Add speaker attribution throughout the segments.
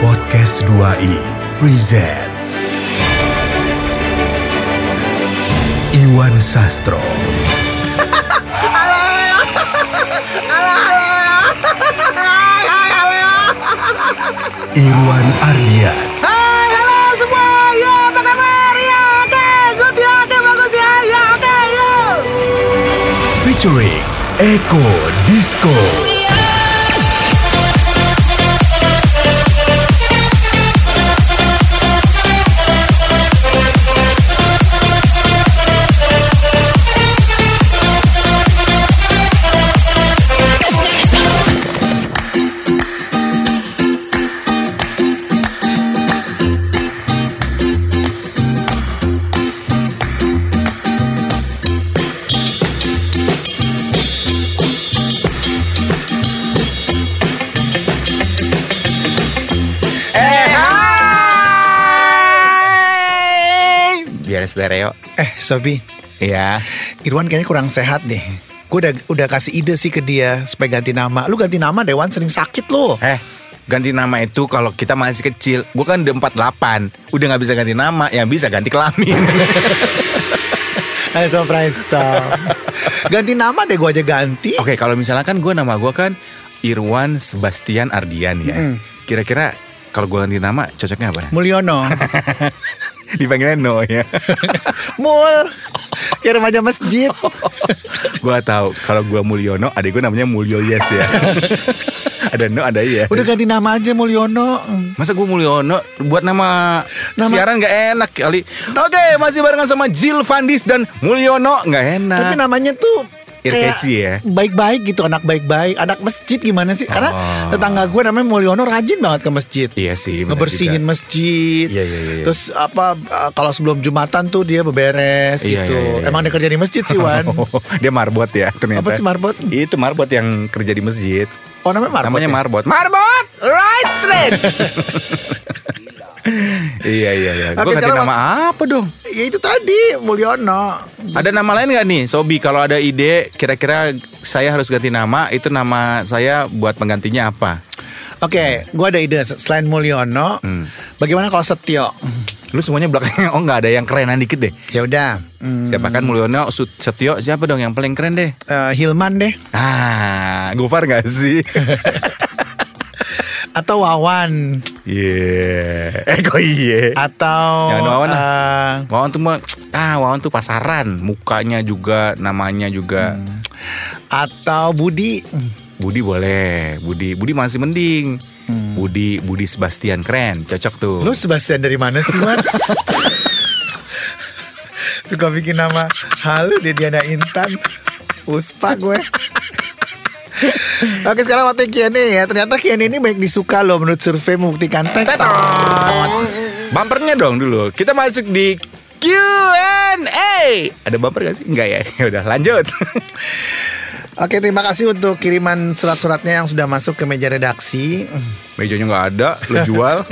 Speaker 1: Podcast 2i presents Iwan Sastro Irwan Ardian
Speaker 2: Hai, halo semua. Ya, apa kabar? Ya, oke. Good ya, oke. Bagus ya. Ya, oke. Yo.
Speaker 1: featuring Eko Disco
Speaker 2: Eh, hai. Biar stereo.
Speaker 3: Eh, Sobi,
Speaker 2: Ya.
Speaker 3: Irwan kayaknya kurang sehat deh. Gue udah, udah kasih ide sih ke dia supaya ganti nama. Lu ganti nama Dewan sering sakit lo.
Speaker 2: Eh, ganti nama itu kalau kita masih kecil. Gue kan udah 48. Udah nggak bisa ganti nama. Yang bisa ganti kelamin.
Speaker 3: Ada surprise. Sam. ganti nama deh gue aja ganti.
Speaker 2: Oke, kalau misalnya kan gue nama gue kan Irwan Sebastian Ardian ya. Kira-kira kalau gue ganti nama cocoknya apa?
Speaker 3: Mulyono.
Speaker 2: Dipanggilnya No ya.
Speaker 3: Mul. Kayak remaja masjid.
Speaker 2: Gua tahu kalau gua Mulyono, adik gua namanya Mulyo Yes ya. ada no, ada iya.
Speaker 3: Udah ganti nama aja Mulyono.
Speaker 2: Masa gua Mulyono buat nama,
Speaker 3: Nama-
Speaker 2: siaran nggak enak kali. Oke, masih barengan sama Jill Vandis dan Mulyono nggak enak.
Speaker 3: Tapi namanya tuh
Speaker 2: Ear
Speaker 3: kayak
Speaker 2: catchy ya.
Speaker 3: baik-baik gitu anak baik-baik anak masjid gimana sih karena
Speaker 2: Oh.
Speaker 3: tetangga gue namanya Mulyono rajin banget ke masjid
Speaker 2: Iya sih, benar
Speaker 3: ngebersihin
Speaker 2: juga.
Speaker 3: masjid
Speaker 2: Iya, iya, iya, iya.
Speaker 3: terus apa uh, kalau sebelum jumatan tuh dia beberes
Speaker 2: Iya,
Speaker 3: gitu
Speaker 2: iya, iya, iya.
Speaker 3: emang dia kerja di masjid sih Wan
Speaker 2: Oh, Dia marbot ya ternyata.
Speaker 3: Apa sih marbot?
Speaker 2: Itu marbot yang kerja di masjid.
Speaker 3: oh namanya Marbot
Speaker 2: namanya
Speaker 3: ya?
Speaker 2: marbot. Marbot, right train. iya iya iya.
Speaker 3: Oke,
Speaker 2: Gue ganti
Speaker 3: sekarang-
Speaker 2: nama apa dong?
Speaker 3: ya itu tadi Mulyono
Speaker 2: Ada nama lain nggak nih, Sobi? Kalau ada ide, kira-kira saya harus ganti nama. Itu nama saya buat penggantinya apa?
Speaker 3: Oke, gue ada ide selain Mulyono,
Speaker 2: Hmm.
Speaker 3: bagaimana kalau Setio?
Speaker 2: Lu semuanya belakangnya, oh nggak ada yang kerenan dikit deh.
Speaker 3: Ya udah, hmm,
Speaker 2: Siapa kan Mulyono, Sut- Setio, siapa dong yang paling keren deh?
Speaker 3: eh, Hilman deh,
Speaker 2: Ah, Gofar nggak sih?
Speaker 3: atau Wawan,
Speaker 2: Iya, eh kok iya.
Speaker 3: atau
Speaker 2: Jangan Wawan lah.
Speaker 3: eh,
Speaker 2: Wawan tuh mah- ah Wawan tuh pasaran, mukanya juga, namanya juga.
Speaker 3: atau Budi.
Speaker 2: Budi boleh, Budi, Budi masih mending. Budi, Budi Sebastian keren, cocok tuh.
Speaker 3: Lu Sebastian dari mana sih, Wan? Suka bikin nama Halo Dediana Intan Uspa gue Oke sekarang waktu Q&A ya Ternyata Q&A ini baik disuka loh Menurut survei membuktikan Tetot
Speaker 2: Bumpernya dong dulu. Kita masuk di Q&A. Ada bumper gak sih? Enggak ya. Ya udah lanjut.
Speaker 3: Oke terima kasih untuk kiriman surat-suratnya Yang sudah masuk ke meja redaksi
Speaker 2: Mejanya nggak ada, lu jual.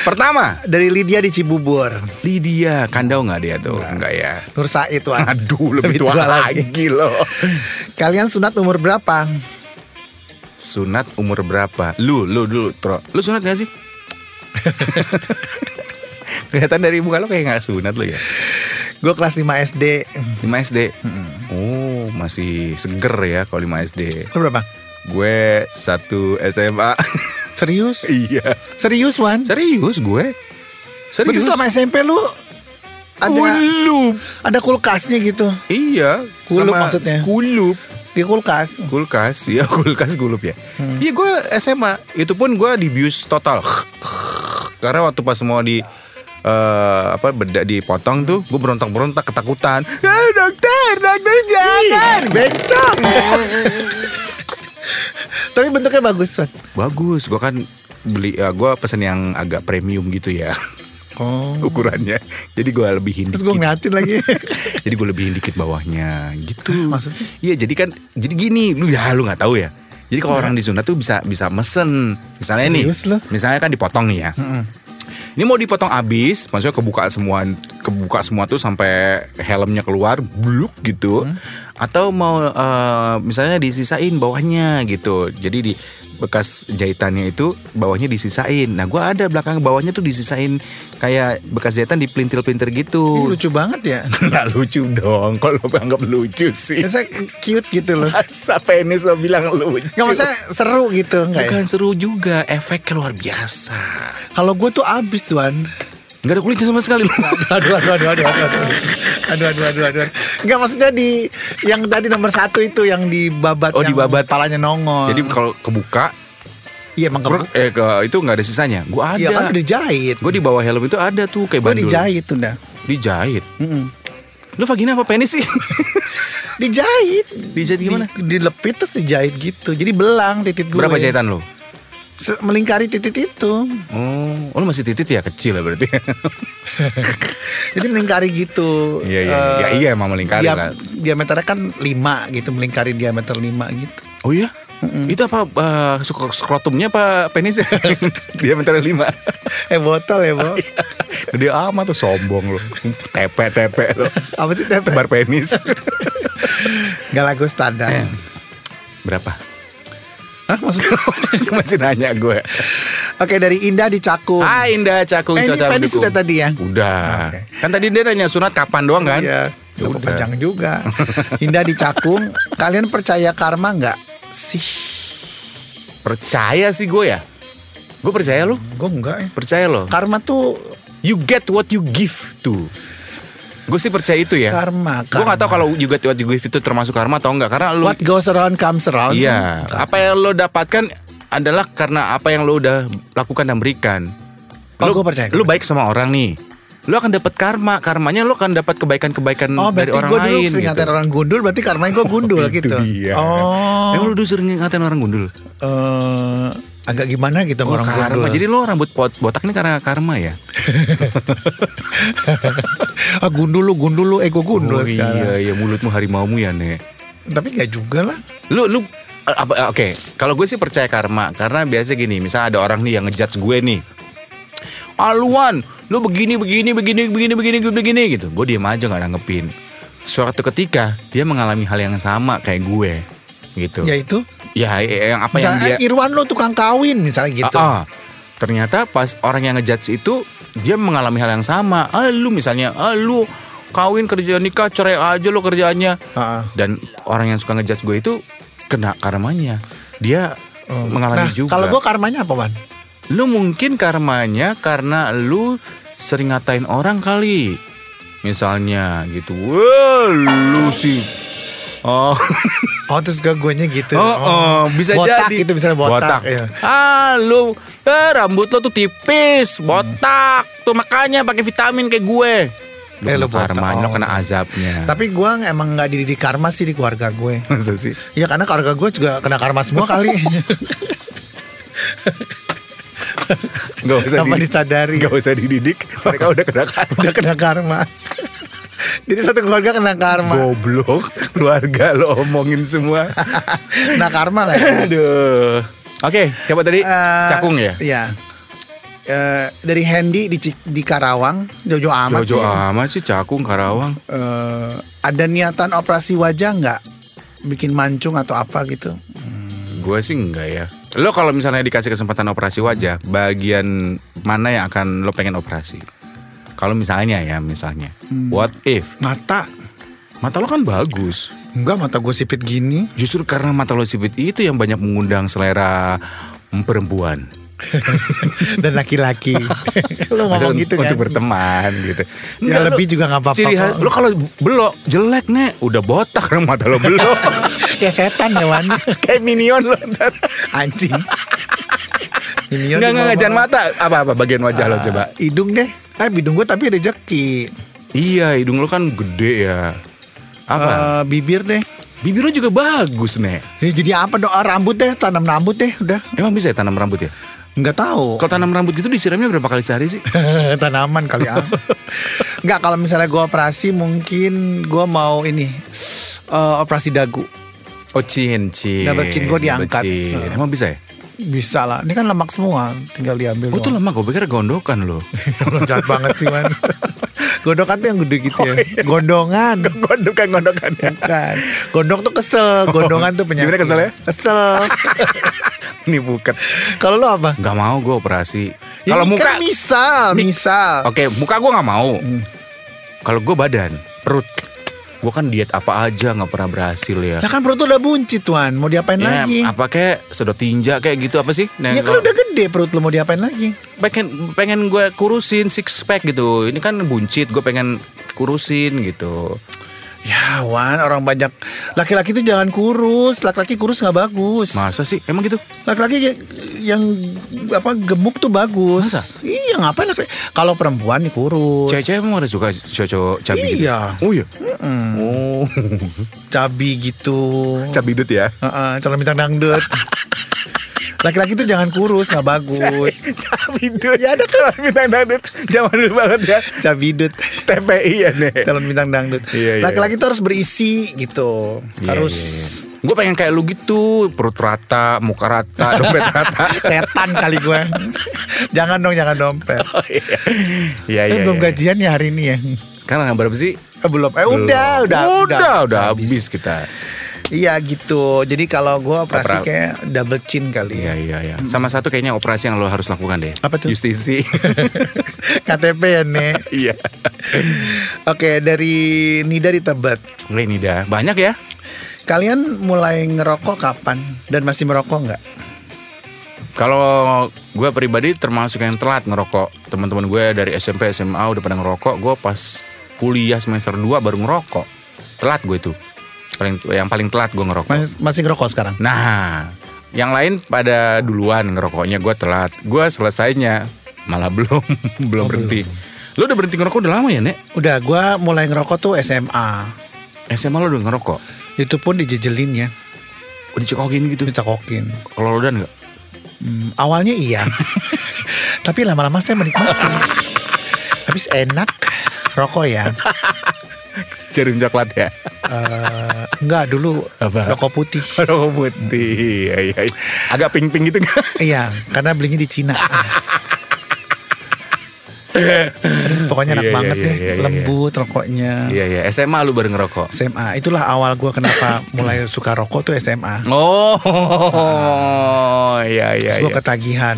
Speaker 2: Pertama,
Speaker 3: Dari Lydia di Cibubur
Speaker 2: Lydia Kandau nggak dia tuh? Enggak ya.
Speaker 3: Nur Said Wan.
Speaker 2: Aduh, lebih, tua, lagi. loh.
Speaker 3: Kalian sunat umur berapa?
Speaker 2: Sunat umur berapa? Lu, lu dulu, Tro. Lu sunat gak sih? Kelihatan dari muka lo kayak gak sunat lo ya.
Speaker 3: Gue kelas 5 SD
Speaker 2: 5 SD. Oh, masih seger ya kalau 5 SD.
Speaker 3: Lu berapa?
Speaker 2: Gue satu SMA.
Speaker 3: Serius?
Speaker 2: iya.
Speaker 3: Serius Wan?
Speaker 2: Serius gue.
Speaker 3: Berarti
Speaker 2: Serius.
Speaker 3: selama SMP lu ada
Speaker 2: kulup.
Speaker 3: ada kulkasnya gitu.
Speaker 2: Iya.
Speaker 3: Kulup
Speaker 2: selama-
Speaker 3: maksudnya.
Speaker 2: Kulup.
Speaker 3: Di kulkas.
Speaker 2: Kulkas, ya kulkas kulup ya. Iya gue SMA, itu pun gue dibius total. Karena waktu pas mau di eh, apa bedak dipotong tuh, gue berontak-berontak ketakutan. Ya dokter, dokter
Speaker 3: Iya.
Speaker 2: eh." jangan.
Speaker 3: Bencong. Tapi bentuknya bagus, Wan.
Speaker 2: Bagus, gue kan beli, eh, gue pesen yang agak premium gitu ya.
Speaker 3: Oh. gitu.
Speaker 2: ukurannya jadi gue lebihin
Speaker 3: Terus
Speaker 2: dikit
Speaker 3: gue ngeliatin lagi.
Speaker 2: jadi gue lebihin dikit bawahnya gitu
Speaker 3: Maksudnya?
Speaker 2: iya jadi kan jadi gini lu ya lu nggak tahu ya jadi kalau orang disunat tuh bisa bisa mesen misalnya nih
Speaker 3: Iya. Serius lu?
Speaker 2: misalnya kan dipotong nih ya ini mau dipotong abis maksudnya kebuka semua kebuka semua tuh sampai helmnya keluar bluk gitu atau mau eh, misalnya disisain bawahnya gitu jadi di bekas jahitannya itu bawahnya disisain. Nah, gua ada belakang bawahnya tuh disisain kayak bekas jahitan dipelintir-pelintir
Speaker 3: Ih,
Speaker 2: gitu.
Speaker 3: lucu banget ya.
Speaker 2: Nggak lucu dong. Kalau lu anggap lucu sih.
Speaker 3: Biasanya cute gitu loh.
Speaker 2: Masa penis lo bilang lucu.
Speaker 3: Nggak maksudnya seru gitu enggak ya?
Speaker 2: Bukan seru juga, efeknya luar biasa.
Speaker 3: Kalau gue tuh abis tuan.
Speaker 2: Nggak ada kulitnya sama sekali.
Speaker 3: Aduh, aduh, aduh, aduh, aduh, aduh, aduh, aduh, aduh, aduh. Nggak maksudnya di yang tadi nomor satu itu yang dibabat,
Speaker 2: Oh,
Speaker 3: yang
Speaker 2: dibabat.
Speaker 3: palanya nongol.
Speaker 2: Jadi kalau kebuka,
Speaker 3: iya emang
Speaker 2: Bro,
Speaker 3: kebuka.
Speaker 2: eh ke, itu nggak ada sisanya. Gua ada.
Speaker 3: Iya kan udah jahit.
Speaker 2: Gue di bawah helm itu ada tuh kayak
Speaker 3: Gue
Speaker 2: bandul.
Speaker 3: dijahit tuh dah.
Speaker 2: Dijahit. Lu vagina apa penis sih?
Speaker 3: Dijahit.
Speaker 2: Dijahit gimana?
Speaker 3: Di, dilepit terus dijahit gitu. Jadi belang titit gue.
Speaker 2: Berapa jahitan lu?
Speaker 3: Se- melingkari titit itu.
Speaker 2: Oh, lu masih titit ya kecil ya berarti.
Speaker 3: Jadi melingkari gitu.
Speaker 2: Iya iya.
Speaker 3: Eh,
Speaker 2: Ya, iya emang melingkari
Speaker 3: dia-
Speaker 2: lah.
Speaker 3: Diameternya kan 5 gitu, melingkari diameter 5 gitu.
Speaker 2: Oh iya. Itu apa eh, sk- skrotumnya apa penisnya? Dia mentar lima.
Speaker 3: Eh botol ya, Bo.
Speaker 2: Dia amat tuh sombong lu. Tepe tepe lu.
Speaker 3: Apa sih tepe?
Speaker 2: Tebar penis.
Speaker 3: Gak lagu
Speaker 2: Eh.
Speaker 3: standar.
Speaker 2: Berapa?
Speaker 3: Hah, maksudnya?
Speaker 2: masih nanya gue.
Speaker 3: Oke, dari Indah di Cakung.
Speaker 2: Ah Indah Cakung
Speaker 3: Oh. Eh, ini
Speaker 2: Caca
Speaker 3: penis
Speaker 2: Mendukung.
Speaker 3: sudah tadi ya?
Speaker 2: Udah.
Speaker 3: Oke.
Speaker 2: Kan tadi dia nanya sunat kapan doang kan?
Speaker 3: Iya.
Speaker 2: Ya
Speaker 3: Kenapa
Speaker 2: udah.
Speaker 3: panjang juga. Indah di Cakung, kalian percaya karma nggak? Sih,
Speaker 2: Percaya sih gue ya. Gue percaya lo.
Speaker 3: gue enggak ya.
Speaker 2: Percaya lo.
Speaker 3: Karma tuh
Speaker 2: You get what you give to. Gue sih percaya itu ya.
Speaker 3: Karma,
Speaker 2: Gue
Speaker 3: karma.
Speaker 2: gak tahu kalau you get what you give itu termasuk karma atau enggak. Karena lo.
Speaker 3: what goes around comes around.
Speaker 2: Iya.
Speaker 3: Karma.
Speaker 2: Apa yang lo dapatkan adalah karena apa yang lo udah lakukan dan berikan.
Speaker 3: Oh,
Speaker 2: Lo-
Speaker 3: gue percaya, gue
Speaker 2: Lo baik sama orang nih. Lo akan dapat karma. Karmanya lo akan dapat kebaikan-kebaikan
Speaker 3: Oh
Speaker 2: dari
Speaker 3: berarti
Speaker 2: orang
Speaker 3: gue dulu
Speaker 2: lain. gitu. Eh,
Speaker 3: sering ngatain orang gundul Berarti karmanya gue gundul gitu
Speaker 2: dia.
Speaker 3: Oh
Speaker 2: Emang lo dulu sering ngatain orang gundul?
Speaker 3: eh, Agak gimana gitu
Speaker 2: Oh,
Speaker 3: sama orang
Speaker 2: karma.
Speaker 3: gundul
Speaker 2: Jadi lo rambut pot botak ini karena karma ya?
Speaker 3: ah, Gundul lu gundul lu Eh gue gundul
Speaker 2: oh,
Speaker 3: sekarang
Speaker 2: iya, iya mulutmu harimaumu ya, Nek.
Speaker 3: Tapi gak juga lah
Speaker 2: Lu lu eh, apa oke, kalau gue sih percaya karma karena biasa gini, misalnya ada orang nih yang ngejudge gue nih. Aluan, lu begini begini begini begini begini begini gitu. Gue diem aja nggak nanggepin. Suatu ketika dia mengalami hal yang sama kayak gue gitu. Ya,
Speaker 3: Yaitu
Speaker 2: yang apa yang dia
Speaker 3: Misalnya eh, Irwan lu tukang kawin Misalnya gitu
Speaker 2: Ah, ah. ternyata pas orang yang ngejudge itu dia mengalami hal yang sama. Ah lu misalnya, ah lu kawin kerja nikah cerai aja lu kerjaannya.
Speaker 3: Ah, ah.
Speaker 2: Dan orang yang suka ngejudge gue itu kena karmanya. Dia mengalami
Speaker 3: Nah
Speaker 2: juga.
Speaker 3: kalau gue karmanya apa Wan?
Speaker 2: Lu mungkin karmanya karena lu sering ngatain orang kali. Misalnya gitu. Wah, lu sih. Oh,
Speaker 3: Oh terus gue guanya gitu
Speaker 2: Oh, oh, bisa
Speaker 3: botak
Speaker 2: jadi.
Speaker 3: gitu misalnya botak, iya.
Speaker 2: Ah, lu eh, rambut lo tuh tipis, botak. Tuh makanya pakai vitamin kayak gue. Lu
Speaker 3: Eh,
Speaker 2: kena
Speaker 3: lu botak.
Speaker 2: karmanya, lu
Speaker 3: Oh.
Speaker 2: kena azabnya.
Speaker 3: Tapi gue emang gak dididik karma sih di keluarga gue
Speaker 2: Masa sih?
Speaker 3: Ya karena keluarga gue juga kena karma semua kali
Speaker 2: Gak usah gitu.
Speaker 3: Tanpa
Speaker 2: dididik.
Speaker 3: disadari.
Speaker 2: Gak usah dididik. Mereka udah kena karma.
Speaker 3: Udah kena karma Jadi satu keluarga kena karma
Speaker 2: Goblok. Keluarga lo omongin semua.
Speaker 3: Nah karma gak ya?
Speaker 2: Aduh. Oke, siapa tadi?
Speaker 3: Eh,
Speaker 2: Cakung ya?
Speaker 3: Iya Eh, Dari Handy di, Cik- di Karawang Jojo amat
Speaker 2: Jojo
Speaker 3: sih.
Speaker 2: amat sih Cakung Karawang.
Speaker 3: Eh, Ada niatan operasi wajah nggak? Bikin mancung atau apa gitu
Speaker 2: Gue sih enggak ya. Lo kalau misalnya dikasih kesempatan operasi wajah, bagian mana yang akan lo pengen operasi? Kalau misalnya ya, misalnya. What if?
Speaker 3: Mata
Speaker 2: Mata lo kan bagus.
Speaker 3: Enggak mata gue sipit gini
Speaker 2: Justru karena mata lo sipit itu yang banyak mengundang selera perempuan.
Speaker 3: Dan laki-laki Lo ngomong
Speaker 2: Maksudnya
Speaker 3: gitu
Speaker 2: untuk
Speaker 3: kan
Speaker 2: berteman gitu.
Speaker 3: Ya,
Speaker 2: Enggak,
Speaker 3: lebih juga nggak apa-apa
Speaker 2: Ciri
Speaker 3: kok.
Speaker 2: khas- lo kalau belok jelek nih, udah botak kan mata lo belok.
Speaker 3: Kayak setan ya Wan
Speaker 2: Kayak minion lo. ntar.
Speaker 3: Anjing Ini
Speaker 2: Enggak enggak jangan mata. Apa apa bagian wajah lo coba.
Speaker 3: Hidung deh Eh hidung gue tapi rejeki
Speaker 2: Iya, hidung lo kan gede ya. Apa?
Speaker 3: Eh, Bibir deh
Speaker 2: Bibir lo juga bagus, Nek.
Speaker 3: Ya, jadi apa doa rambut deh, tanam rambut deh, udah
Speaker 2: Emang bisa ya tanam rambut ya?
Speaker 3: nggak tahu.
Speaker 2: Kalau tanam rambut gitu disiramnya berapa kali sehari sih?
Speaker 3: Tanaman kali ah. nggak kalau misalnya gue operasi mungkin gue mau ini eh, operasi dagu
Speaker 2: Oh, cin, cin.
Speaker 3: Dapat cin gua diangkat.
Speaker 2: Cin. Emang bisa ya?
Speaker 3: bisa lah. Ini kan lemak semua, tinggal diambil.
Speaker 2: Oh, itu
Speaker 3: doang.
Speaker 2: lama gue pikir gondokan lo.
Speaker 3: jahat banget sih man. Gondokan tuh yang gede gitu
Speaker 2: Oh,
Speaker 3: ya.
Speaker 2: iya.
Speaker 3: Gondongan.
Speaker 2: gondokan, gondokan. ya.
Speaker 3: Bukan. Gondok tuh kesel, gondongan tuh penyakit.
Speaker 2: Gimana kesel ya?
Speaker 3: Kesel.
Speaker 2: ini buket.
Speaker 3: Kalau lo apa?
Speaker 2: Gak mau gue operasi.
Speaker 3: Ya,
Speaker 2: Kalau
Speaker 3: ini
Speaker 2: muka,
Speaker 3: kan misal, misal.
Speaker 2: oke muka gue nggak mau. Kalau gue badan, perut, gue kan diet apa aja nggak pernah berhasil ya.
Speaker 3: Lah kan perut lo udah buncit tuan, mau diapain
Speaker 2: Ya,
Speaker 3: lagi?
Speaker 2: apa kayak sedot tinja kayak gitu apa sih? Nah,
Speaker 3: Ya kan
Speaker 2: kalau-
Speaker 3: udah gede perut lo mau diapain lagi?
Speaker 2: pengen pengen gue kurusin six pack gitu ini kan buncit gue pengen kurusin gitu
Speaker 3: Ya Wan, orang banyak laki-laki tuh jangan kurus, laki-laki kurus nggak bagus.
Speaker 2: masa sih emang gitu
Speaker 3: Laki-laki yang, yang apa gemuk tuh bagus.
Speaker 2: Masa?
Speaker 3: Iya ngapain laki Kalau perempuan nih kurus,
Speaker 2: cewek-cewek emang ada suka cowok cabi gitu
Speaker 3: Iya.
Speaker 2: oh iya oh
Speaker 3: cabi gitu.
Speaker 2: cabi dut ya
Speaker 3: Heeh, calon bintang dangdut. laki-laki tuh jangan kurus nggak bagus.
Speaker 2: cabi dut
Speaker 3: Ya ada
Speaker 2: kan bintang dangdut zaman dulu banget ya
Speaker 3: Cabidut,
Speaker 2: TPI ya nih
Speaker 3: calon bintang dangdut.
Speaker 2: Iya, iya.
Speaker 3: Laki-laki tuh harus berisi gitu, harus
Speaker 2: gue iya, pengen kayak lu gitu perut rata muka rata dompet rata
Speaker 3: setan kali gue. jangan dong, jangan dompet.
Speaker 2: iya
Speaker 3: Eh,
Speaker 2: iya
Speaker 3: Oh, belum
Speaker 2: iya.
Speaker 3: gajian ya hari ini ya.
Speaker 2: sekarang berapa sih
Speaker 3: Eh, belum. Eh
Speaker 2: Belum.
Speaker 3: udah, udah,
Speaker 2: udah udah, habis kita
Speaker 3: Iya gitu. Jadi kalau gua operasi
Speaker 2: Opera-
Speaker 3: kayak double chin kali ya.
Speaker 2: Iya iya iya. Sama satu kayaknya operasi yang lo harus lakukan deh.
Speaker 3: Apa tuh?
Speaker 2: Justisi.
Speaker 3: KTP ya Nek.
Speaker 2: Iya.
Speaker 3: Oke dari Nida di Tebet.
Speaker 2: Lenida banyak ya?
Speaker 3: Kalian mulai ngerokok kapan dan masih merokok nggak?
Speaker 2: Kalau gue pribadi termasuk yang telat ngerokok. Teman-teman gue dari SMP SMA udah pada ngerokok. Gue pas kuliah semester 2 baru ngerokok. Telat gue itu. Paling yang paling telat gue ngerokok.
Speaker 3: Masih, masih ngerokok sekarang?
Speaker 2: Nah, yang lain pada duluan ngerokoknya gue telat. Gue selesainya malah belum belum berhenti. Lo udah berhenti ngerokok udah lama ya, Nek?
Speaker 3: Udah, gua mulai ngerokok tuh SMA.
Speaker 2: SMA lo udah ngerokok?
Speaker 3: Itu pun dijejelin ya,
Speaker 2: Udah cekokin gitu.
Speaker 3: dicekokin.
Speaker 2: Kalau lo udah nggak?
Speaker 3: Hmm, awalnya iya, tapi lama-lama saya menikmati. Habis enak, rokok ya.
Speaker 2: jarum coklat ya
Speaker 3: Eh, enggak dulu
Speaker 2: Apa?
Speaker 3: rokok putih.
Speaker 2: rokok putih iya, iya. agak pink pink gitu kan
Speaker 3: Iya, karena belinya di Cina. Aduh, Pokoknya enak
Speaker 2: Iya, iya,
Speaker 3: banget
Speaker 2: iya,
Speaker 3: deh,
Speaker 2: iya, iya.
Speaker 3: lembut rokoknya.
Speaker 2: iya iya SMA lu baru ngerokok
Speaker 3: SMA, itulah awal gua kenapa mulai suka rokok tuh SMA.
Speaker 2: oh iya iya,
Speaker 3: Terus
Speaker 2: iya.
Speaker 3: gua ketagihan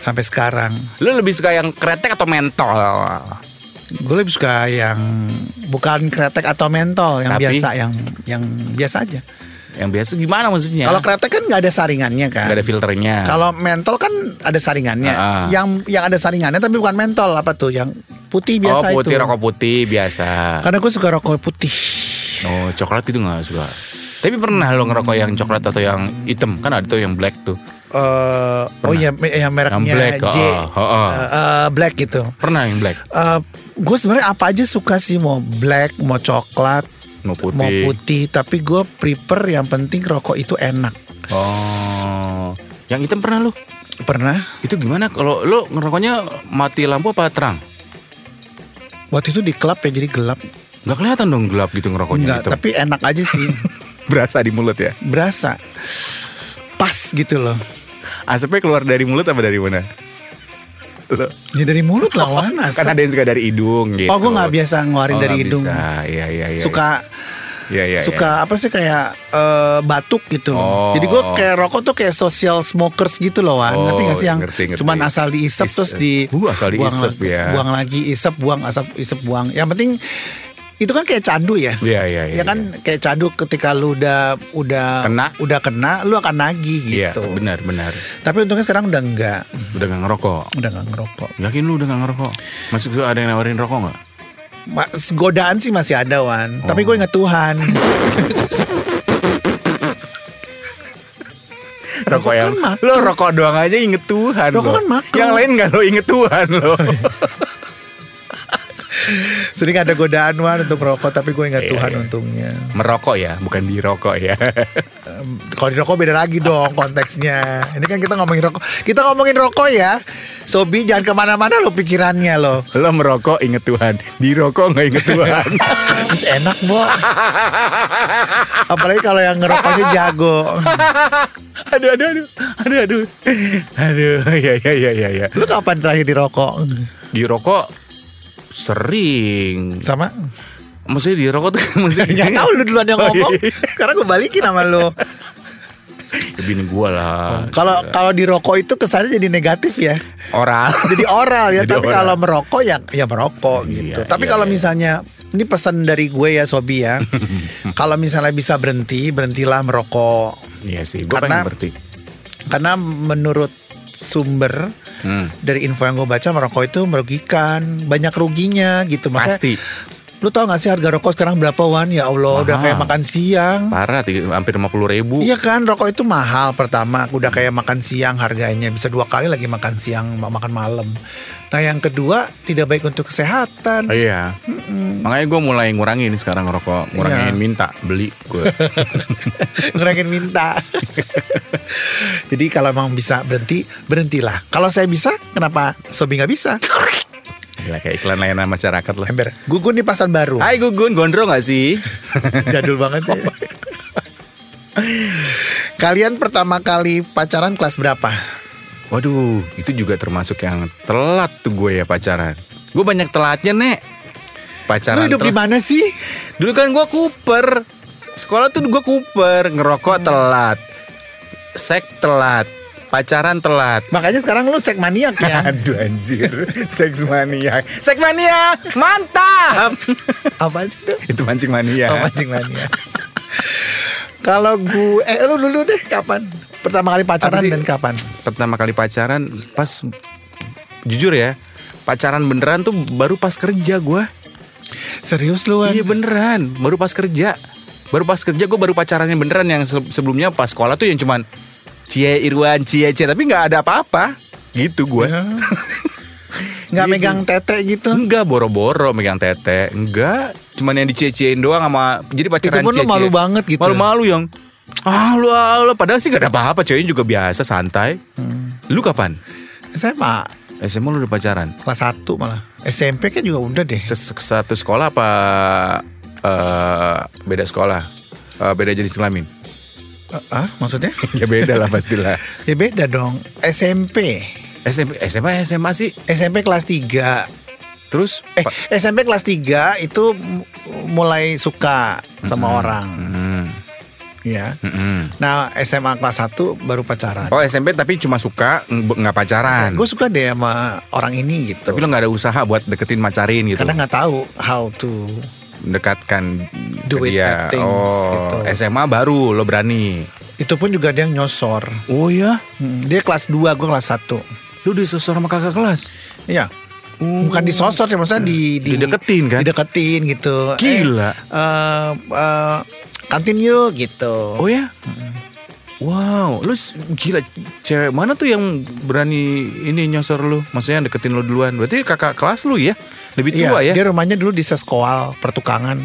Speaker 3: sampai sekarang.
Speaker 2: lu lebih suka yang kretek atau mentol
Speaker 3: Gue lebih suka yang bukan kretek atau mentol, yang
Speaker 2: Tapi?
Speaker 3: biasa, yang yang biasa aja.
Speaker 2: yang biasa gimana maksudnya
Speaker 3: Kalau kretek kan nggak ada saringannya
Speaker 2: Ya.
Speaker 3: kan.
Speaker 2: nggak ada filternya
Speaker 3: Kalau mentol kan ada saringannya.
Speaker 2: Ah.
Speaker 3: Yang yang ada saringannya tapi bukan mentol apa tuh? Yang putih
Speaker 2: oh
Speaker 3: biasa
Speaker 2: putih
Speaker 3: itu. Kan-
Speaker 2: rokok putih biasa
Speaker 3: Karena gue suka rokok putih.
Speaker 2: oh coklat itu nggak suka tapi pernah lo ngerokok yang coklat atau yang hitam kan ada tuh yang black tuh
Speaker 3: eh oh ya, me- ya mereknya
Speaker 2: Yang black,
Speaker 3: J,
Speaker 2: oh, oh, oh.
Speaker 3: Eh, eh, black gitu.
Speaker 2: pernah yang black
Speaker 3: Eh gue sebenarnya apa aja suka sih mau black, mau coklat,
Speaker 2: mau putih,
Speaker 3: mau putih. Tapi gue prefer yang penting rokok itu enak.
Speaker 2: oh yang hitam pernah lu
Speaker 3: Pernah
Speaker 2: Itu gimana kalau lo ngerokoknya mati lampu apa terang?
Speaker 3: waktu itu di klub ya jadi gelap.
Speaker 2: Nggak kelihatan dong gelap gitu ngerokoknya
Speaker 3: Enggak,
Speaker 2: gitu.
Speaker 3: tapi enak aja sih.
Speaker 2: Berasa di mulut ya.
Speaker 3: Berasa pas gitu loh.
Speaker 2: Asapnya keluar dari mulut apa dari mana? Lo,
Speaker 3: Ya dari mulut lawan
Speaker 2: kan ada yang suka dari hidung gitu.
Speaker 3: Oh, gua nggak biasa ngeluarin
Speaker 2: Oh,
Speaker 3: dari
Speaker 2: nggak
Speaker 3: hidung.
Speaker 2: Bisa. Iya, iya, iya.
Speaker 3: suka
Speaker 2: Iya, iya, iya.
Speaker 3: suka apa sih kayak eh, batuk gitu loh.
Speaker 2: Oh.
Speaker 3: Jadi gue kayak rokok tuh kayak social smokers gitu loh, Wan.
Speaker 2: Oh,
Speaker 3: ngerti gak sih yang
Speaker 2: ngerti, ngerti.
Speaker 3: cuman asal diisep
Speaker 2: Is-
Speaker 3: terus di
Speaker 2: Uh, asal
Speaker 3: buang,
Speaker 2: diisep, ya.
Speaker 3: buang lagi isep buang asap isep buang. Yang penting itu kan kayak candu ya.
Speaker 2: Iya, iya, iya.
Speaker 3: Ya kan kayak candu ketika lu udah udah
Speaker 2: Kena.
Speaker 3: udah kena lu akan nagih
Speaker 2: Iya,
Speaker 3: gitu.
Speaker 2: benar, benar.
Speaker 3: Tapi untungnya sekarang udah enggak
Speaker 2: Udah nggak ngerokok.
Speaker 3: udah nggak ngerokok.
Speaker 2: Yakin lu udah nggak ngerokok? Masuk tuh ada yang nawarin rokok nggak?
Speaker 3: Mas, godaan sih masih ada Wan. Tapi gue inget Tuhan. Rokok kan makan.
Speaker 2: lo rokok doang aja inget Tuhan.
Speaker 3: Rokok
Speaker 2: lo.
Speaker 3: kan makan.
Speaker 2: Yang lain nggak lo inget Tuhan lo.
Speaker 3: Sering ada godaan Wan untuk rokok tapi gue
Speaker 2: Iya,
Speaker 3: ingat Tuhan untungnya.
Speaker 2: Merokok ya, bukan dirokok ya.
Speaker 3: Em, Kalau di rokok beda lagi dong konteksnya. Ini kan kita ngomongin rokok. Kita ngomongin rokok ya. Sobi jangan kemana-mana lo pikirannya lo.
Speaker 2: Lo merokok inget Tuhan Dirokok nggak inget Tuhan
Speaker 3: Terus enak bo. Apalagi kalau yang ngerokoknya jago.
Speaker 2: Aduh aduh aduh Aduh aduh Aduh ya ya ya ya ya
Speaker 3: Lu kapan terakhir di rokok?
Speaker 2: Dirokok sering
Speaker 3: Sama?
Speaker 2: Maksudnya dirokok tuh maksudnya
Speaker 3: Gak tau lu duluan yang
Speaker 2: Iya. Oh,
Speaker 3: ngomong.
Speaker 2: iya.
Speaker 3: Karena gue balikin sama lu.
Speaker 2: Ya, bini gua lah. Iya.
Speaker 3: Kalau kalau di rokok itu kesannya jadi negatif ya.
Speaker 2: oral.
Speaker 3: Jadi oral ya,
Speaker 2: Jadi
Speaker 3: tapi
Speaker 2: oral.
Speaker 3: kalau merokok ya ya merokok gitu. Tapi
Speaker 2: iya,
Speaker 3: kalau
Speaker 2: iya.
Speaker 3: misalnya ini pesan dari gue ya Sobi ya. kalau misalnya bisa berhenti, berhentilah merokok.
Speaker 2: Iya sih, gua
Speaker 3: Karena-
Speaker 2: pengen berhenti.
Speaker 3: Karena menurut sumber
Speaker 2: Hmm.
Speaker 3: dari info yang gue baca merokok itu merugikan, banyak ruginya gitu. Makanya,
Speaker 2: Pasti.
Speaker 3: Lu tau gak sih harga rokok sekarang berapa Wan? Ya Allah, udah
Speaker 2: Mahal.
Speaker 3: kayak makan siang.
Speaker 2: Parah, tiga- hampir 50 ribu.
Speaker 3: Iya kan, rokok itu mahal pertama. Udah kayak makan siang harganya bisa dua kali lagi makan siang, ma- makan malam. Nah yang kedua tidak baik untuk kesehatan.
Speaker 2: Iya. Makanya gue mulai ngurangin sekarang ngerokok, ngurangin minta, beli gue.
Speaker 3: Ngurangin minta. Jadi kalau emang bisa berhenti, berhentilah. Kalau saya bisa, kenapa Sobi nggak bisa?
Speaker 2: Gila, kayak iklan layanan masyarakat lah.
Speaker 3: Ember, gugun di pasar baru.
Speaker 2: Hai Gugun, gondrong gak sih?
Speaker 3: Jadul banget sih. Kalian pertama kali pacaran kelas berapa?
Speaker 2: Waduh, itu juga termasuk yang telat tuh gue ya pacaran. Gue banyak telatnya, Nek.
Speaker 3: Lu
Speaker 2: Pacaran
Speaker 3: hidup di
Speaker 2: telat.
Speaker 3: mana sih?
Speaker 2: Dulu kan gue kuper. Sekolah tuh gue kuper, ngerokok telat. Sek telat, pacaran telat.
Speaker 3: Makanya sekarang lu sekmaniak ya.
Speaker 2: Aduh anjir, seks mania. Seks mania, mantap.
Speaker 3: Apa sih itu?
Speaker 2: itu mancing mania.
Speaker 3: Oh, mancing mania. Kalau gue eh lu dulu deh kapan? Pertama kali pacaran
Speaker 2: Apa sih?
Speaker 3: dan kapan?
Speaker 2: pertama kali pacaran pas jujur ya pacaran beneran tuh baru pas kerja gua
Speaker 3: Serius lu
Speaker 2: iya beneran baru pas kerja baru pas kerja gue baru pacarannya beneran yang se- sebelumnya pas sekolah tuh yang cuman cie Irwan cie cie tapi nggak ada apa-apa gitu
Speaker 3: Iya.
Speaker 2: gua
Speaker 3: Nggak
Speaker 2: Gitu.
Speaker 3: megang tete gitu.
Speaker 2: enggak boro-boro megang tete enggak cuman yang dicie-ciein doang sama jadi pacaran
Speaker 3: Itu pun lu
Speaker 2: cie-cie.
Speaker 3: malu banget gitu.
Speaker 2: malu-malu yang ah lu, ah, lu. padahal sih gak ada apa-apa ceweknya juga biasa santai
Speaker 3: Hmm.
Speaker 2: lu kapan
Speaker 3: SMA
Speaker 2: SMA lu udah pacaran
Speaker 3: kelas 1 malah. SMP kan juga udah deh.
Speaker 2: Ses- satu sekolah apa eh, beda sekolah Eh, beda jenis kelamin
Speaker 3: Ah, maksudnya?
Speaker 2: ya beda lah pastilah
Speaker 3: ya beda dong. SMP.
Speaker 2: SMP SMA SMA sih
Speaker 3: SMP kelas 3.
Speaker 2: terus
Speaker 3: Eh,
Speaker 2: pa-
Speaker 3: SMP kelas 3 itu m- mulai suka sama orang.
Speaker 2: hmm,
Speaker 3: Ya.
Speaker 2: hmm.
Speaker 3: Nah, SMA kelas 1 baru pacaran.
Speaker 2: oh SMP tapi cuma suka ng- nggak pacaran
Speaker 3: Gue suka deh sama orang ini gitu.
Speaker 2: tapi lo nggak ada usaha buat deketin macarin gitu
Speaker 3: karena nggak tahu how to
Speaker 2: mendekatkan
Speaker 3: Do
Speaker 2: ke
Speaker 3: it
Speaker 2: dia
Speaker 3: that things,
Speaker 2: oh
Speaker 3: gitu.
Speaker 2: SMA baru lo berani
Speaker 3: itu pun juga dia yang nyosor
Speaker 2: oh ya
Speaker 3: Hmm, dia kelas 2 gue kelas 1
Speaker 2: lu disosor sama kakak kelas
Speaker 3: Iya bukan disosor sih maksudnya di, di
Speaker 2: Dideketin, Oh. kan?
Speaker 3: dideketin gitu
Speaker 2: Gila.
Speaker 3: eh, eh, eh, kantin yuk gitu
Speaker 2: Oh ya? Wow, lu s- gila cewek mana tuh yang berani ini nyosor lu? Maksudnya deketin lu duluan. Berarti kakak kelas lu ya? Lebih
Speaker 3: Iya,
Speaker 2: tua ya?
Speaker 3: dia rumahnya dulu di seskoal pertukangan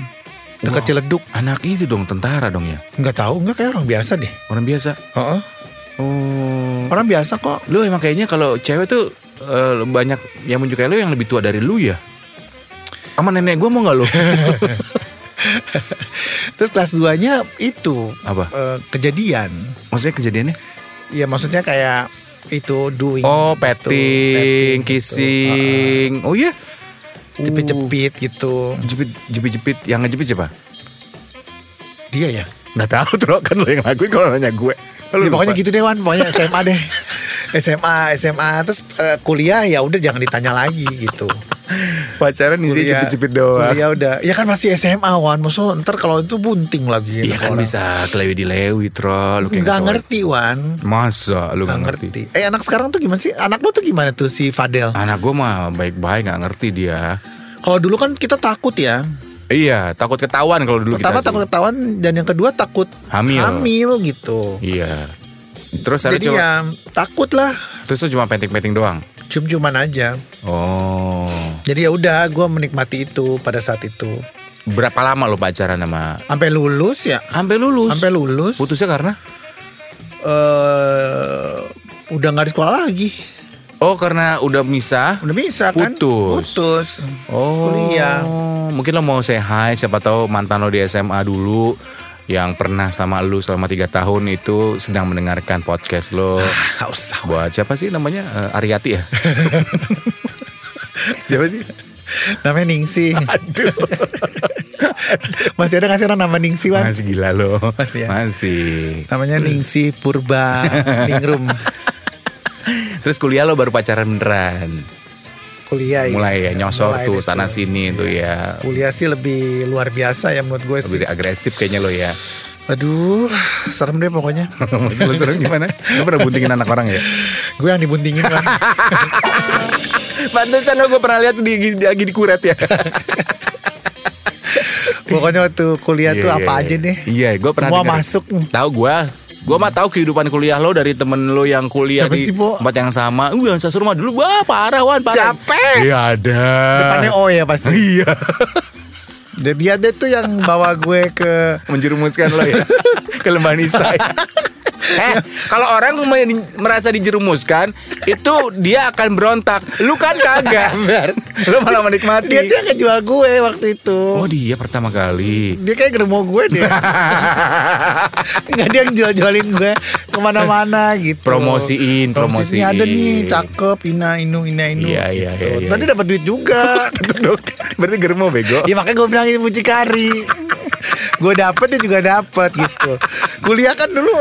Speaker 3: dekat
Speaker 2: Wow.
Speaker 3: Ciledug
Speaker 2: Anak itu dong tentara dong ya.
Speaker 3: nggak tahu nggak kayak orang biasa deh
Speaker 2: Orang biasa. Oh.
Speaker 3: orang biasa kok
Speaker 2: Lu emang kayaknya kalau cewek tuh eh, banyak yang muncul kayak lu yang lebih tua dari lu ya? Sama nenek gua mau nggak lu?
Speaker 3: terus kelas 2 nya itu
Speaker 2: Apa?
Speaker 3: eh, kejadian
Speaker 2: Maksudnya kejadiannya?
Speaker 3: ya maksudnya kayak itu doing
Speaker 2: Oh,
Speaker 3: gitu, petting,
Speaker 2: petting,
Speaker 3: gitu. Ah,
Speaker 2: kissing. Oh iya.
Speaker 3: jepit-jepit gitu
Speaker 2: Jepit, jepit-jepit. Yang ngejepit siapa?
Speaker 3: dia ya
Speaker 2: Gak tahu tuh kan lo yang lakuin kalau nanya gue. Lu
Speaker 3: Ya, pokoknya
Speaker 2: lupa.
Speaker 3: gitu deh Wan pokoknya SMA deh SMA SMA terus eh, kuliah ya udah jangan ditanya lagi gitu ya,
Speaker 2: pacaran isinya jepit-jepit doang.
Speaker 3: kuliah udah ya kan masih SMA Wan maksud ntar kalau itu bunting lagi
Speaker 2: Iya
Speaker 3: anak
Speaker 2: kan
Speaker 3: orang.
Speaker 2: bisa kelewi di lewi tro. Lu kayak
Speaker 3: nggak
Speaker 2: tahu.
Speaker 3: ngerti Wan
Speaker 2: Masa lu
Speaker 3: nggak
Speaker 2: gak ngerti?
Speaker 3: ngerti eh anak sekarang tuh gimana sih anak lu tuh gimana tuh si Fadel
Speaker 2: Anak gue mah baik-baik gak ngerti dia.
Speaker 3: kalau dulu kan kita takut ya
Speaker 2: Iya, takut ketahuan kalau dulu
Speaker 3: pertama
Speaker 2: kita sih.
Speaker 3: takut ketahuan dan yang kedua takut
Speaker 2: Hamil.
Speaker 3: gitu
Speaker 2: Iya. Terus akhirnya
Speaker 3: jadi
Speaker 2: cuma,
Speaker 3: ya takut lah
Speaker 2: terus lu cuma penting-penting doang.
Speaker 3: cium-ciuman aja
Speaker 2: Oh.
Speaker 3: jadi ya udah gue menikmati itu pada saat itu
Speaker 2: Berapa lama lu pacaran sama?
Speaker 3: sampai lulus ya
Speaker 2: Sampai lulus.
Speaker 3: sampai lulus
Speaker 2: Putusnya karena?
Speaker 3: eh, udah nggak di sekolah lagi
Speaker 2: Oh, karena udah misah.
Speaker 3: udah bisa kan
Speaker 2: Putus.
Speaker 3: putus Terus
Speaker 2: Oh.
Speaker 3: kuliah
Speaker 2: Mungkin lo mau say hi siapa tahu mantan lo di SMA dulu yang pernah sama lu selama tiga tahun itu sedang mendengarkan podcast lo.
Speaker 3: Ah, nggak usah
Speaker 2: Buat siapa sih namanya? Eh, Ariati ya? siapa sih?
Speaker 3: namanya Ningsih
Speaker 2: Aduh.
Speaker 3: Masih ada nggak sih orang nama Ningsi Wan?
Speaker 2: Masih gila lo.
Speaker 3: Masih ya?
Speaker 2: Masih.
Speaker 3: Namanya Ningsi Purba Ningrum
Speaker 2: Terus kuliah lo baru pacaran beneran.
Speaker 3: Kuliah ya.
Speaker 2: Mulai ya nyosor
Speaker 3: Mulai
Speaker 2: tuh
Speaker 3: deh
Speaker 2: sana sini tuh ya.
Speaker 3: Kuliah sih lebih luar biasa ya menurut gue sih
Speaker 2: Lebih agresif kayaknya lo ya.
Speaker 3: Aduh serem deh pokoknya
Speaker 2: Masih lo serem gimana? Lo pernah buntingin anak orang ya?
Speaker 3: Gue yang dibuntingin Wan.
Speaker 2: Pantesan lo gue pernah lihat di, di- lagi di kuret ya.
Speaker 3: Pokoknya waktu kuliah tuh
Speaker 2: Iya,
Speaker 3: apa
Speaker 2: iya,
Speaker 3: aja
Speaker 2: iya.
Speaker 3: deh
Speaker 2: Iya, gue pernah
Speaker 3: Semua
Speaker 2: dengar.
Speaker 3: masuk
Speaker 2: Tahu gue Gue mah tahu kehidupan kuliah lo dari temen lo yang kuliah
Speaker 3: Siapa
Speaker 2: di
Speaker 3: sih, Po?
Speaker 2: tempat yang sama. Uh, yang sasur mah dulu, wah parah wan parah.
Speaker 3: Siapa?
Speaker 2: Iya ada.
Speaker 3: Depannya O ya pasti
Speaker 2: Iya.
Speaker 3: Dia- Dia dia tuh yang bawa gue ke
Speaker 2: Menjerumuskan lo ya ke lembahan istai.
Speaker 3: ya.
Speaker 2: Eh, kalau orang men- merasa dijerumuskan, itu dia akan berontak. Lu kan kagak. Lu malah menikmati.
Speaker 3: Dia tuh yang ngejual gue waktu itu
Speaker 2: Oh dia pertama kali.
Speaker 3: Dia kayak germo gue deh Enggak dia yang jual-jualin gue kemana-mana gitu
Speaker 2: Promosiin, promosiin.
Speaker 3: Promosinya ada nih cakep Ina Inu Ina Inu
Speaker 2: Iya, iya,
Speaker 3: gitu.
Speaker 2: iya, iya.
Speaker 3: Tadi dapat duit juga
Speaker 2: Dok, Berarti germo bego.
Speaker 3: Ya makanya gue bilang ini mucikari Gue dapet dia juga dapet gitu Kuliah kan dulu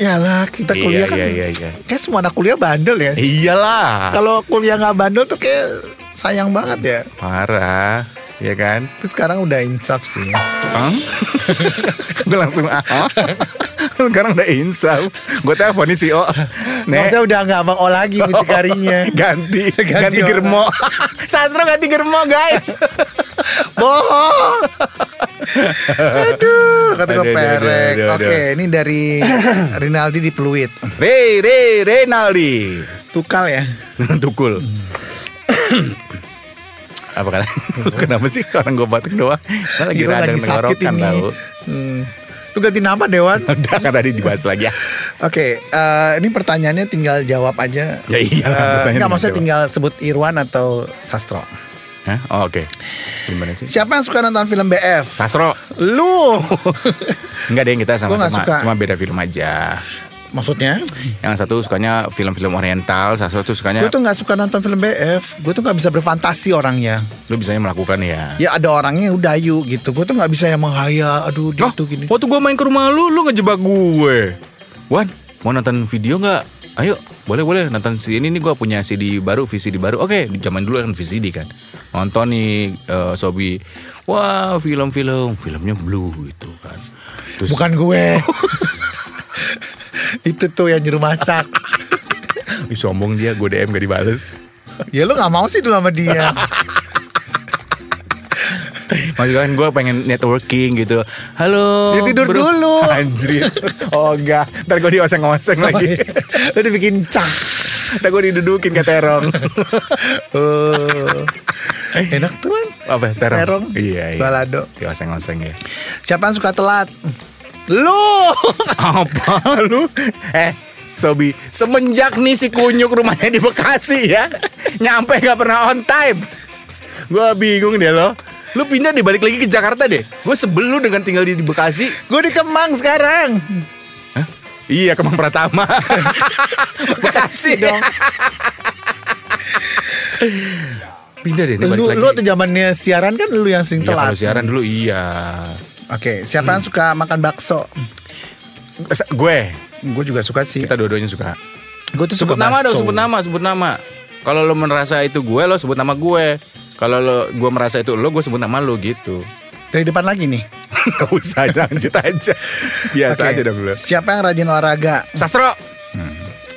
Speaker 3: Yalah kita
Speaker 2: Iya,
Speaker 3: kuliah kan
Speaker 2: iya, iya, iya.
Speaker 3: Kayak semua anak kuliah bandel ya
Speaker 2: Iyalah.
Speaker 3: Kalau kuliah nggak bandel tuh kayak sayang banget ya
Speaker 2: Parah. Ya kan?
Speaker 3: Tapi sekarang udah insaf sih
Speaker 2: Hah? gue langsung ah. Sekarang udah insaf. Gue teleponin si O.
Speaker 3: Maksudnya udah nggak mau lagi mucikarinya
Speaker 2: ganti ganti,
Speaker 3: Ganti orang.
Speaker 2: germo. Sastro ganti germo, guys.
Speaker 3: Bohong. Aduh, kata
Speaker 2: Aduh,
Speaker 3: gue
Speaker 2: aduh,
Speaker 3: perek.
Speaker 2: aduh, aduh,
Speaker 3: Oke, ini dari Rinaldi di Pluit.
Speaker 2: Re re Renaldi.
Speaker 3: Tukal ya.
Speaker 2: Tukul. Apa kan? Lu Kenapa sih orang gue batuk doang? Gue lagi
Speaker 3: Gila,
Speaker 2: radang
Speaker 3: lagi sakit
Speaker 2: tenggorokan
Speaker 3: ini.
Speaker 2: tahu.
Speaker 3: Hmm. Lu ganti nama Dewan.
Speaker 2: Udah kan tadi dibahas lagi ya.
Speaker 3: Oke, eh, ini pertanyaannya tinggal jawab aja.
Speaker 2: Ya iya lah, pertanyaan
Speaker 3: enggak,
Speaker 2: tinggal
Speaker 3: maksudnya
Speaker 2: jawab.
Speaker 3: tinggal sebut Irwan atau Sastro.
Speaker 2: Hah? Oh, oke. Gimana sih?
Speaker 3: Siapa yang suka nonton film BF?
Speaker 2: Sasro.
Speaker 3: Lu.
Speaker 2: Enggak deh kita
Speaker 3: Gua nggak
Speaker 2: sama-sama
Speaker 3: suka.
Speaker 2: Cuma beda film aja
Speaker 3: Maksudnya?
Speaker 2: Yang satu sukanya film-film oriental Sasro tuh sukanya
Speaker 3: Gue tuh nggak suka nonton film BF. Gue tuh nggak bisa berfantasi orangnya.
Speaker 2: Lu bisanya melakukan ya
Speaker 3: Ya ada orangnya udah yuk gitu. Gue tuh nggak bisa yang menghayal. Aduh, dia
Speaker 2: Oh,
Speaker 3: tuh Gitu, gini.
Speaker 2: waktu gue main ke rumah lu, lu ngejebak gue. Wan, mau nonton video nggak? Ayo, boleh boleh nonton si ini nih gue punya CD baru, VCD baru. Oke, di zaman dulu kan VCD kan. Nonton nih eh, Sobi. Wah, film-film, filmnya blue gitu kan. Terus
Speaker 3: Bukan gue. itu tuh yang juru masak.
Speaker 2: Ih, sombong dia, gue DM gak dibales.
Speaker 3: ya lu nggak mau sih dulu sama dia.
Speaker 2: Maksudnya kan gue pengen networking gitu. Halo.
Speaker 3: Ya tidur dulu. Oh,
Speaker 2: Anjir. Oh enggak. Ntar gue dioseng-oseng lagi.
Speaker 3: iya. lu dibikin cak.
Speaker 2: Ntar gue didudukin ke terong.
Speaker 3: Eh, enak tuh kan.
Speaker 2: Apa? ya, Terong.
Speaker 3: Terong.
Speaker 2: Iya, iya.
Speaker 3: Balado.
Speaker 2: Dioseng-oseng ya.
Speaker 3: Siapa yang suka telat? Lu.
Speaker 2: Apa lu? Eh, Sobi, semenjak nih si kunyuk rumahnya di Bekasi ya, nyampe gak pernah on time. Gua bingung deh lo. Lu pindah deh balik lagi ke Jakarta deh. Gue sebel lu dengan tinggal di, di Bekasi.
Speaker 3: gue di Kemang sekarang.
Speaker 2: Hah? Iya, Kemang Pratama. Bekasi
Speaker 3: dong.
Speaker 2: Pindah deh nih balik
Speaker 3: Lu,
Speaker 2: lagi.
Speaker 3: lu waktu zamannya siaran kan lu yang sering
Speaker 2: Iya, kalau Hmm.
Speaker 3: telat.
Speaker 2: siaran dulu iya.
Speaker 3: Oke, siapa yang suka makan bakso?
Speaker 2: Sa- Gue,
Speaker 3: Gue juga suka sih.
Speaker 2: kita dua-duanya suka.
Speaker 3: Gue tuh
Speaker 2: Sebut
Speaker 3: suka
Speaker 2: nama dong,
Speaker 3: bakso.
Speaker 2: sebut nama, sebut nama. Kalau lo merasa itu gue, lo sebut nama gue. Kalau lo gue merasa itu lo, gue sebut nama lo gitu.
Speaker 3: Dari depan lagi nih.
Speaker 2: Gak usah lanjut aja. Biasa
Speaker 3: Oke.
Speaker 2: Ya, aja dong lo.
Speaker 3: Siapa yang rajin olahraga?
Speaker 2: Sastro.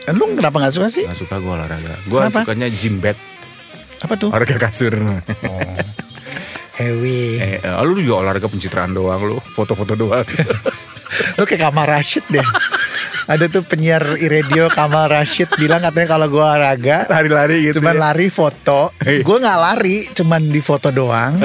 Speaker 3: Eh, Lu kenapa nggak suka sih?
Speaker 2: Gak suka gue olahraga. Gue
Speaker 3: Kenapa? Oh.
Speaker 2: sukanya gym bed.
Speaker 3: Apa tuh?
Speaker 2: Olahraga kasur.
Speaker 3: Oh. Heavy.
Speaker 2: eh, eh, lu juga olahraga pencitraan doang lo. Foto-foto doang.
Speaker 3: Lu kayak Kamal Rashid deh Ada tuh penyiar radio Kamal Rashid bilang katanya kalau gue olahraga
Speaker 2: Lari-lari gitu.
Speaker 3: Cuman
Speaker 2: ya.
Speaker 3: lari foto
Speaker 2: Iya.
Speaker 3: Gue gak lari cuman di foto doang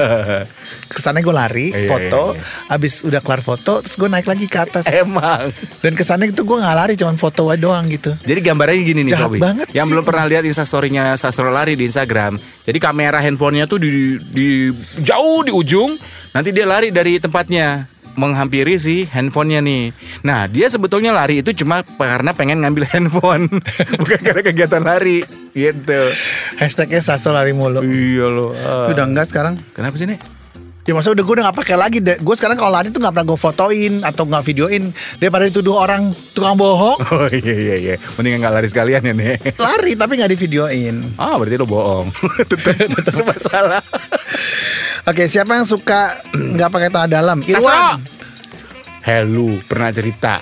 Speaker 3: Kesannya gue lari
Speaker 2: Iya, iya,
Speaker 3: foto
Speaker 2: iya.
Speaker 3: Abis udah kelar foto terus gue naik lagi ke atas
Speaker 2: Emang.
Speaker 3: Dan kesannya itu gue gak lari cuman foto aja doang gitu
Speaker 2: Jadi gambarnya gini nih
Speaker 3: Jahat
Speaker 2: Sobi.
Speaker 3: banget
Speaker 2: Yang
Speaker 3: sih.
Speaker 2: belum pernah lihat instastorynya Sastro lari di Instagram. Jadi kamera handphonenya tuh di, di jauh di ujung. Nanti dia lari dari tempatnya menghampiri si handphonenya nih. Nah dia sebetulnya lari itu cuma karena pengen ngambil handphone, bukan karena kegiatan lari. Gitu.
Speaker 3: Hashtagnya Sastro lari mulu
Speaker 2: Iya loh.
Speaker 3: Udah enggak sekarang
Speaker 2: Kenapa sih nih?
Speaker 3: Ya maksudnya udah gue udah gak pakai lagi. Gue sekarang kalau lari tuh gak pernah gue fotoin atau gak videoin daripada dituduh orang tukang bohong.
Speaker 2: Oh iya iya iya. Mendingan nggak lari sekalian ya nih.
Speaker 3: Lari tapi gak divideoin.
Speaker 2: Ah berarti lo bohong. Tetep tetep masalah.
Speaker 3: Oke, siapa yang suka nggak pakai celana dalam? Irwan.
Speaker 2: Helu pernah cerita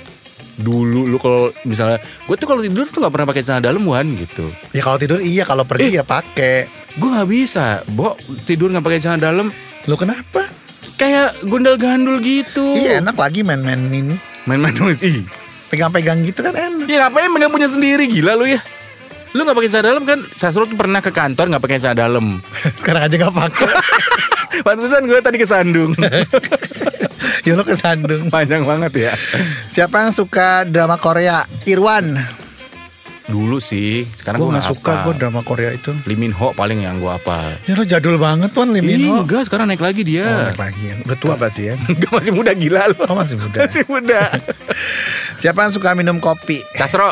Speaker 2: dulu lu kalau misalnya gue tuh kalau tidur tuh nggak pernah pakai celana dalam Wan gitu.
Speaker 3: Ya kalau tidur iya, kalau pergi ya pakai.
Speaker 2: Gue nggak bisa, bo tidur nggak pakai celana dalam
Speaker 3: Lu kenapa?
Speaker 2: kayak gondel gandul gitu.
Speaker 3: Iya enak lagi main-main ini.
Speaker 2: Main-main nulis ih.
Speaker 3: Pegang-pegang gitu kan enak.
Speaker 2: Ya ngapain megang punya sendiri gila lu ya. Lu nggak pakai celana dalam kan? Sasro tuh pernah ke kantor nggak pakai celana dalam.
Speaker 3: Sekarang aja nggak pakai.
Speaker 2: Pantesan gue tadi kesandung.
Speaker 3: ya lu kesandung.
Speaker 2: Panjang banget ya.
Speaker 3: Siapa yang suka drama Korea? Irwan.
Speaker 2: Dulu sih, sekarang gue
Speaker 3: Gue nggak suka gue
Speaker 2: gue
Speaker 3: drama Korea itu.
Speaker 2: Limin Ho paling yang gue apa.
Speaker 3: Ya lo jadul banget pon Lee Min
Speaker 2: Ih,
Speaker 3: Ho.
Speaker 2: enggak, sekarang naik lagi
Speaker 3: Oh,
Speaker 2: dia.
Speaker 3: naik lagi ya. Udah tua berarti ya.
Speaker 2: Enggak masih muda gila lo.
Speaker 3: Oh, masih muda.
Speaker 2: Masih muda.
Speaker 3: Siapa yang suka minum kopi?
Speaker 2: Sasro.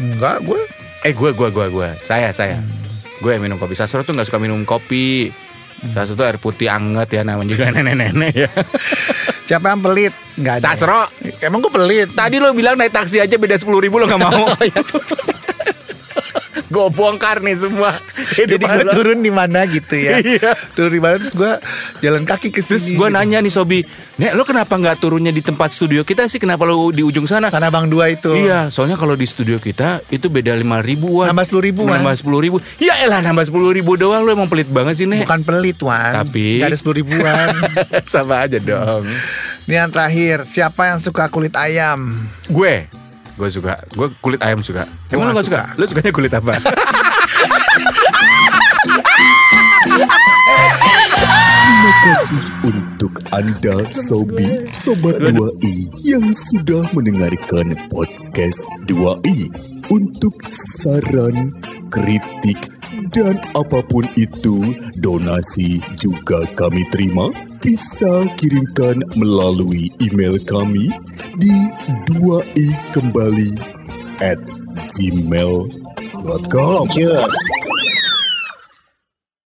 Speaker 3: Enggak, gue
Speaker 2: Eh, gue gue gue gue. Saya saya.
Speaker 3: Hmm.
Speaker 2: Gue yang minum kopi. Sasro tuh nggak suka minum kopi.
Speaker 3: Hmm.
Speaker 2: Sasro tuh air putih anget ya namanya juga nenek-nenek ya.
Speaker 3: Siapa yang pelit? Enggak ada.
Speaker 2: Sasro,
Speaker 3: ya. Emang gue pelit.
Speaker 2: tadi lo bilang naik taksi aja beda sepuluh ribu lo nggak mau. gue bongkar nih semua.
Speaker 3: Jadi
Speaker 2: Kehidupan
Speaker 3: gue
Speaker 2: lo.
Speaker 3: turun di mana gitu ya.
Speaker 2: Iya.
Speaker 3: Turun di mana terus gue jalan kaki ke sini.
Speaker 2: Terus gue
Speaker 3: gitu.
Speaker 2: nanya nih Sobi, Nek lo kenapa nggak turunnya di tempat studio kita sih? Kenapa lo di ujung sana?
Speaker 3: Tanah Bang dua itu.
Speaker 2: Iya, soalnya kalau di studio kita itu beda lima ribuan.
Speaker 3: Nambah 10.000, Wan.
Speaker 2: Nambah sepuluh ribu. Ya elah nambah sepuluh ribu doang lo emang pelit banget sih Nek.
Speaker 3: Bukan pelit Wan
Speaker 2: Tapi-
Speaker 3: Gak ada sepuluh ribuan
Speaker 2: Sama aja dong.
Speaker 3: Ini yang terakhir Siapa yang suka kulit ayam?
Speaker 2: Gue, gue suka. Gue kulit ayam suka.
Speaker 3: Gua
Speaker 2: Emang lo
Speaker 3: nggak
Speaker 2: gak suka? Lo sukanya kulit apa?
Speaker 1: Terima kasih untuk Anda Sobi Sobat 2i yang sudah mendengarkan podcast 2i. Untuk saran, kritik, dan apapun itu, donasi juga kami terima. Bisa kirimkan melalui email kami di 2i kembali at gmail.com. Yes.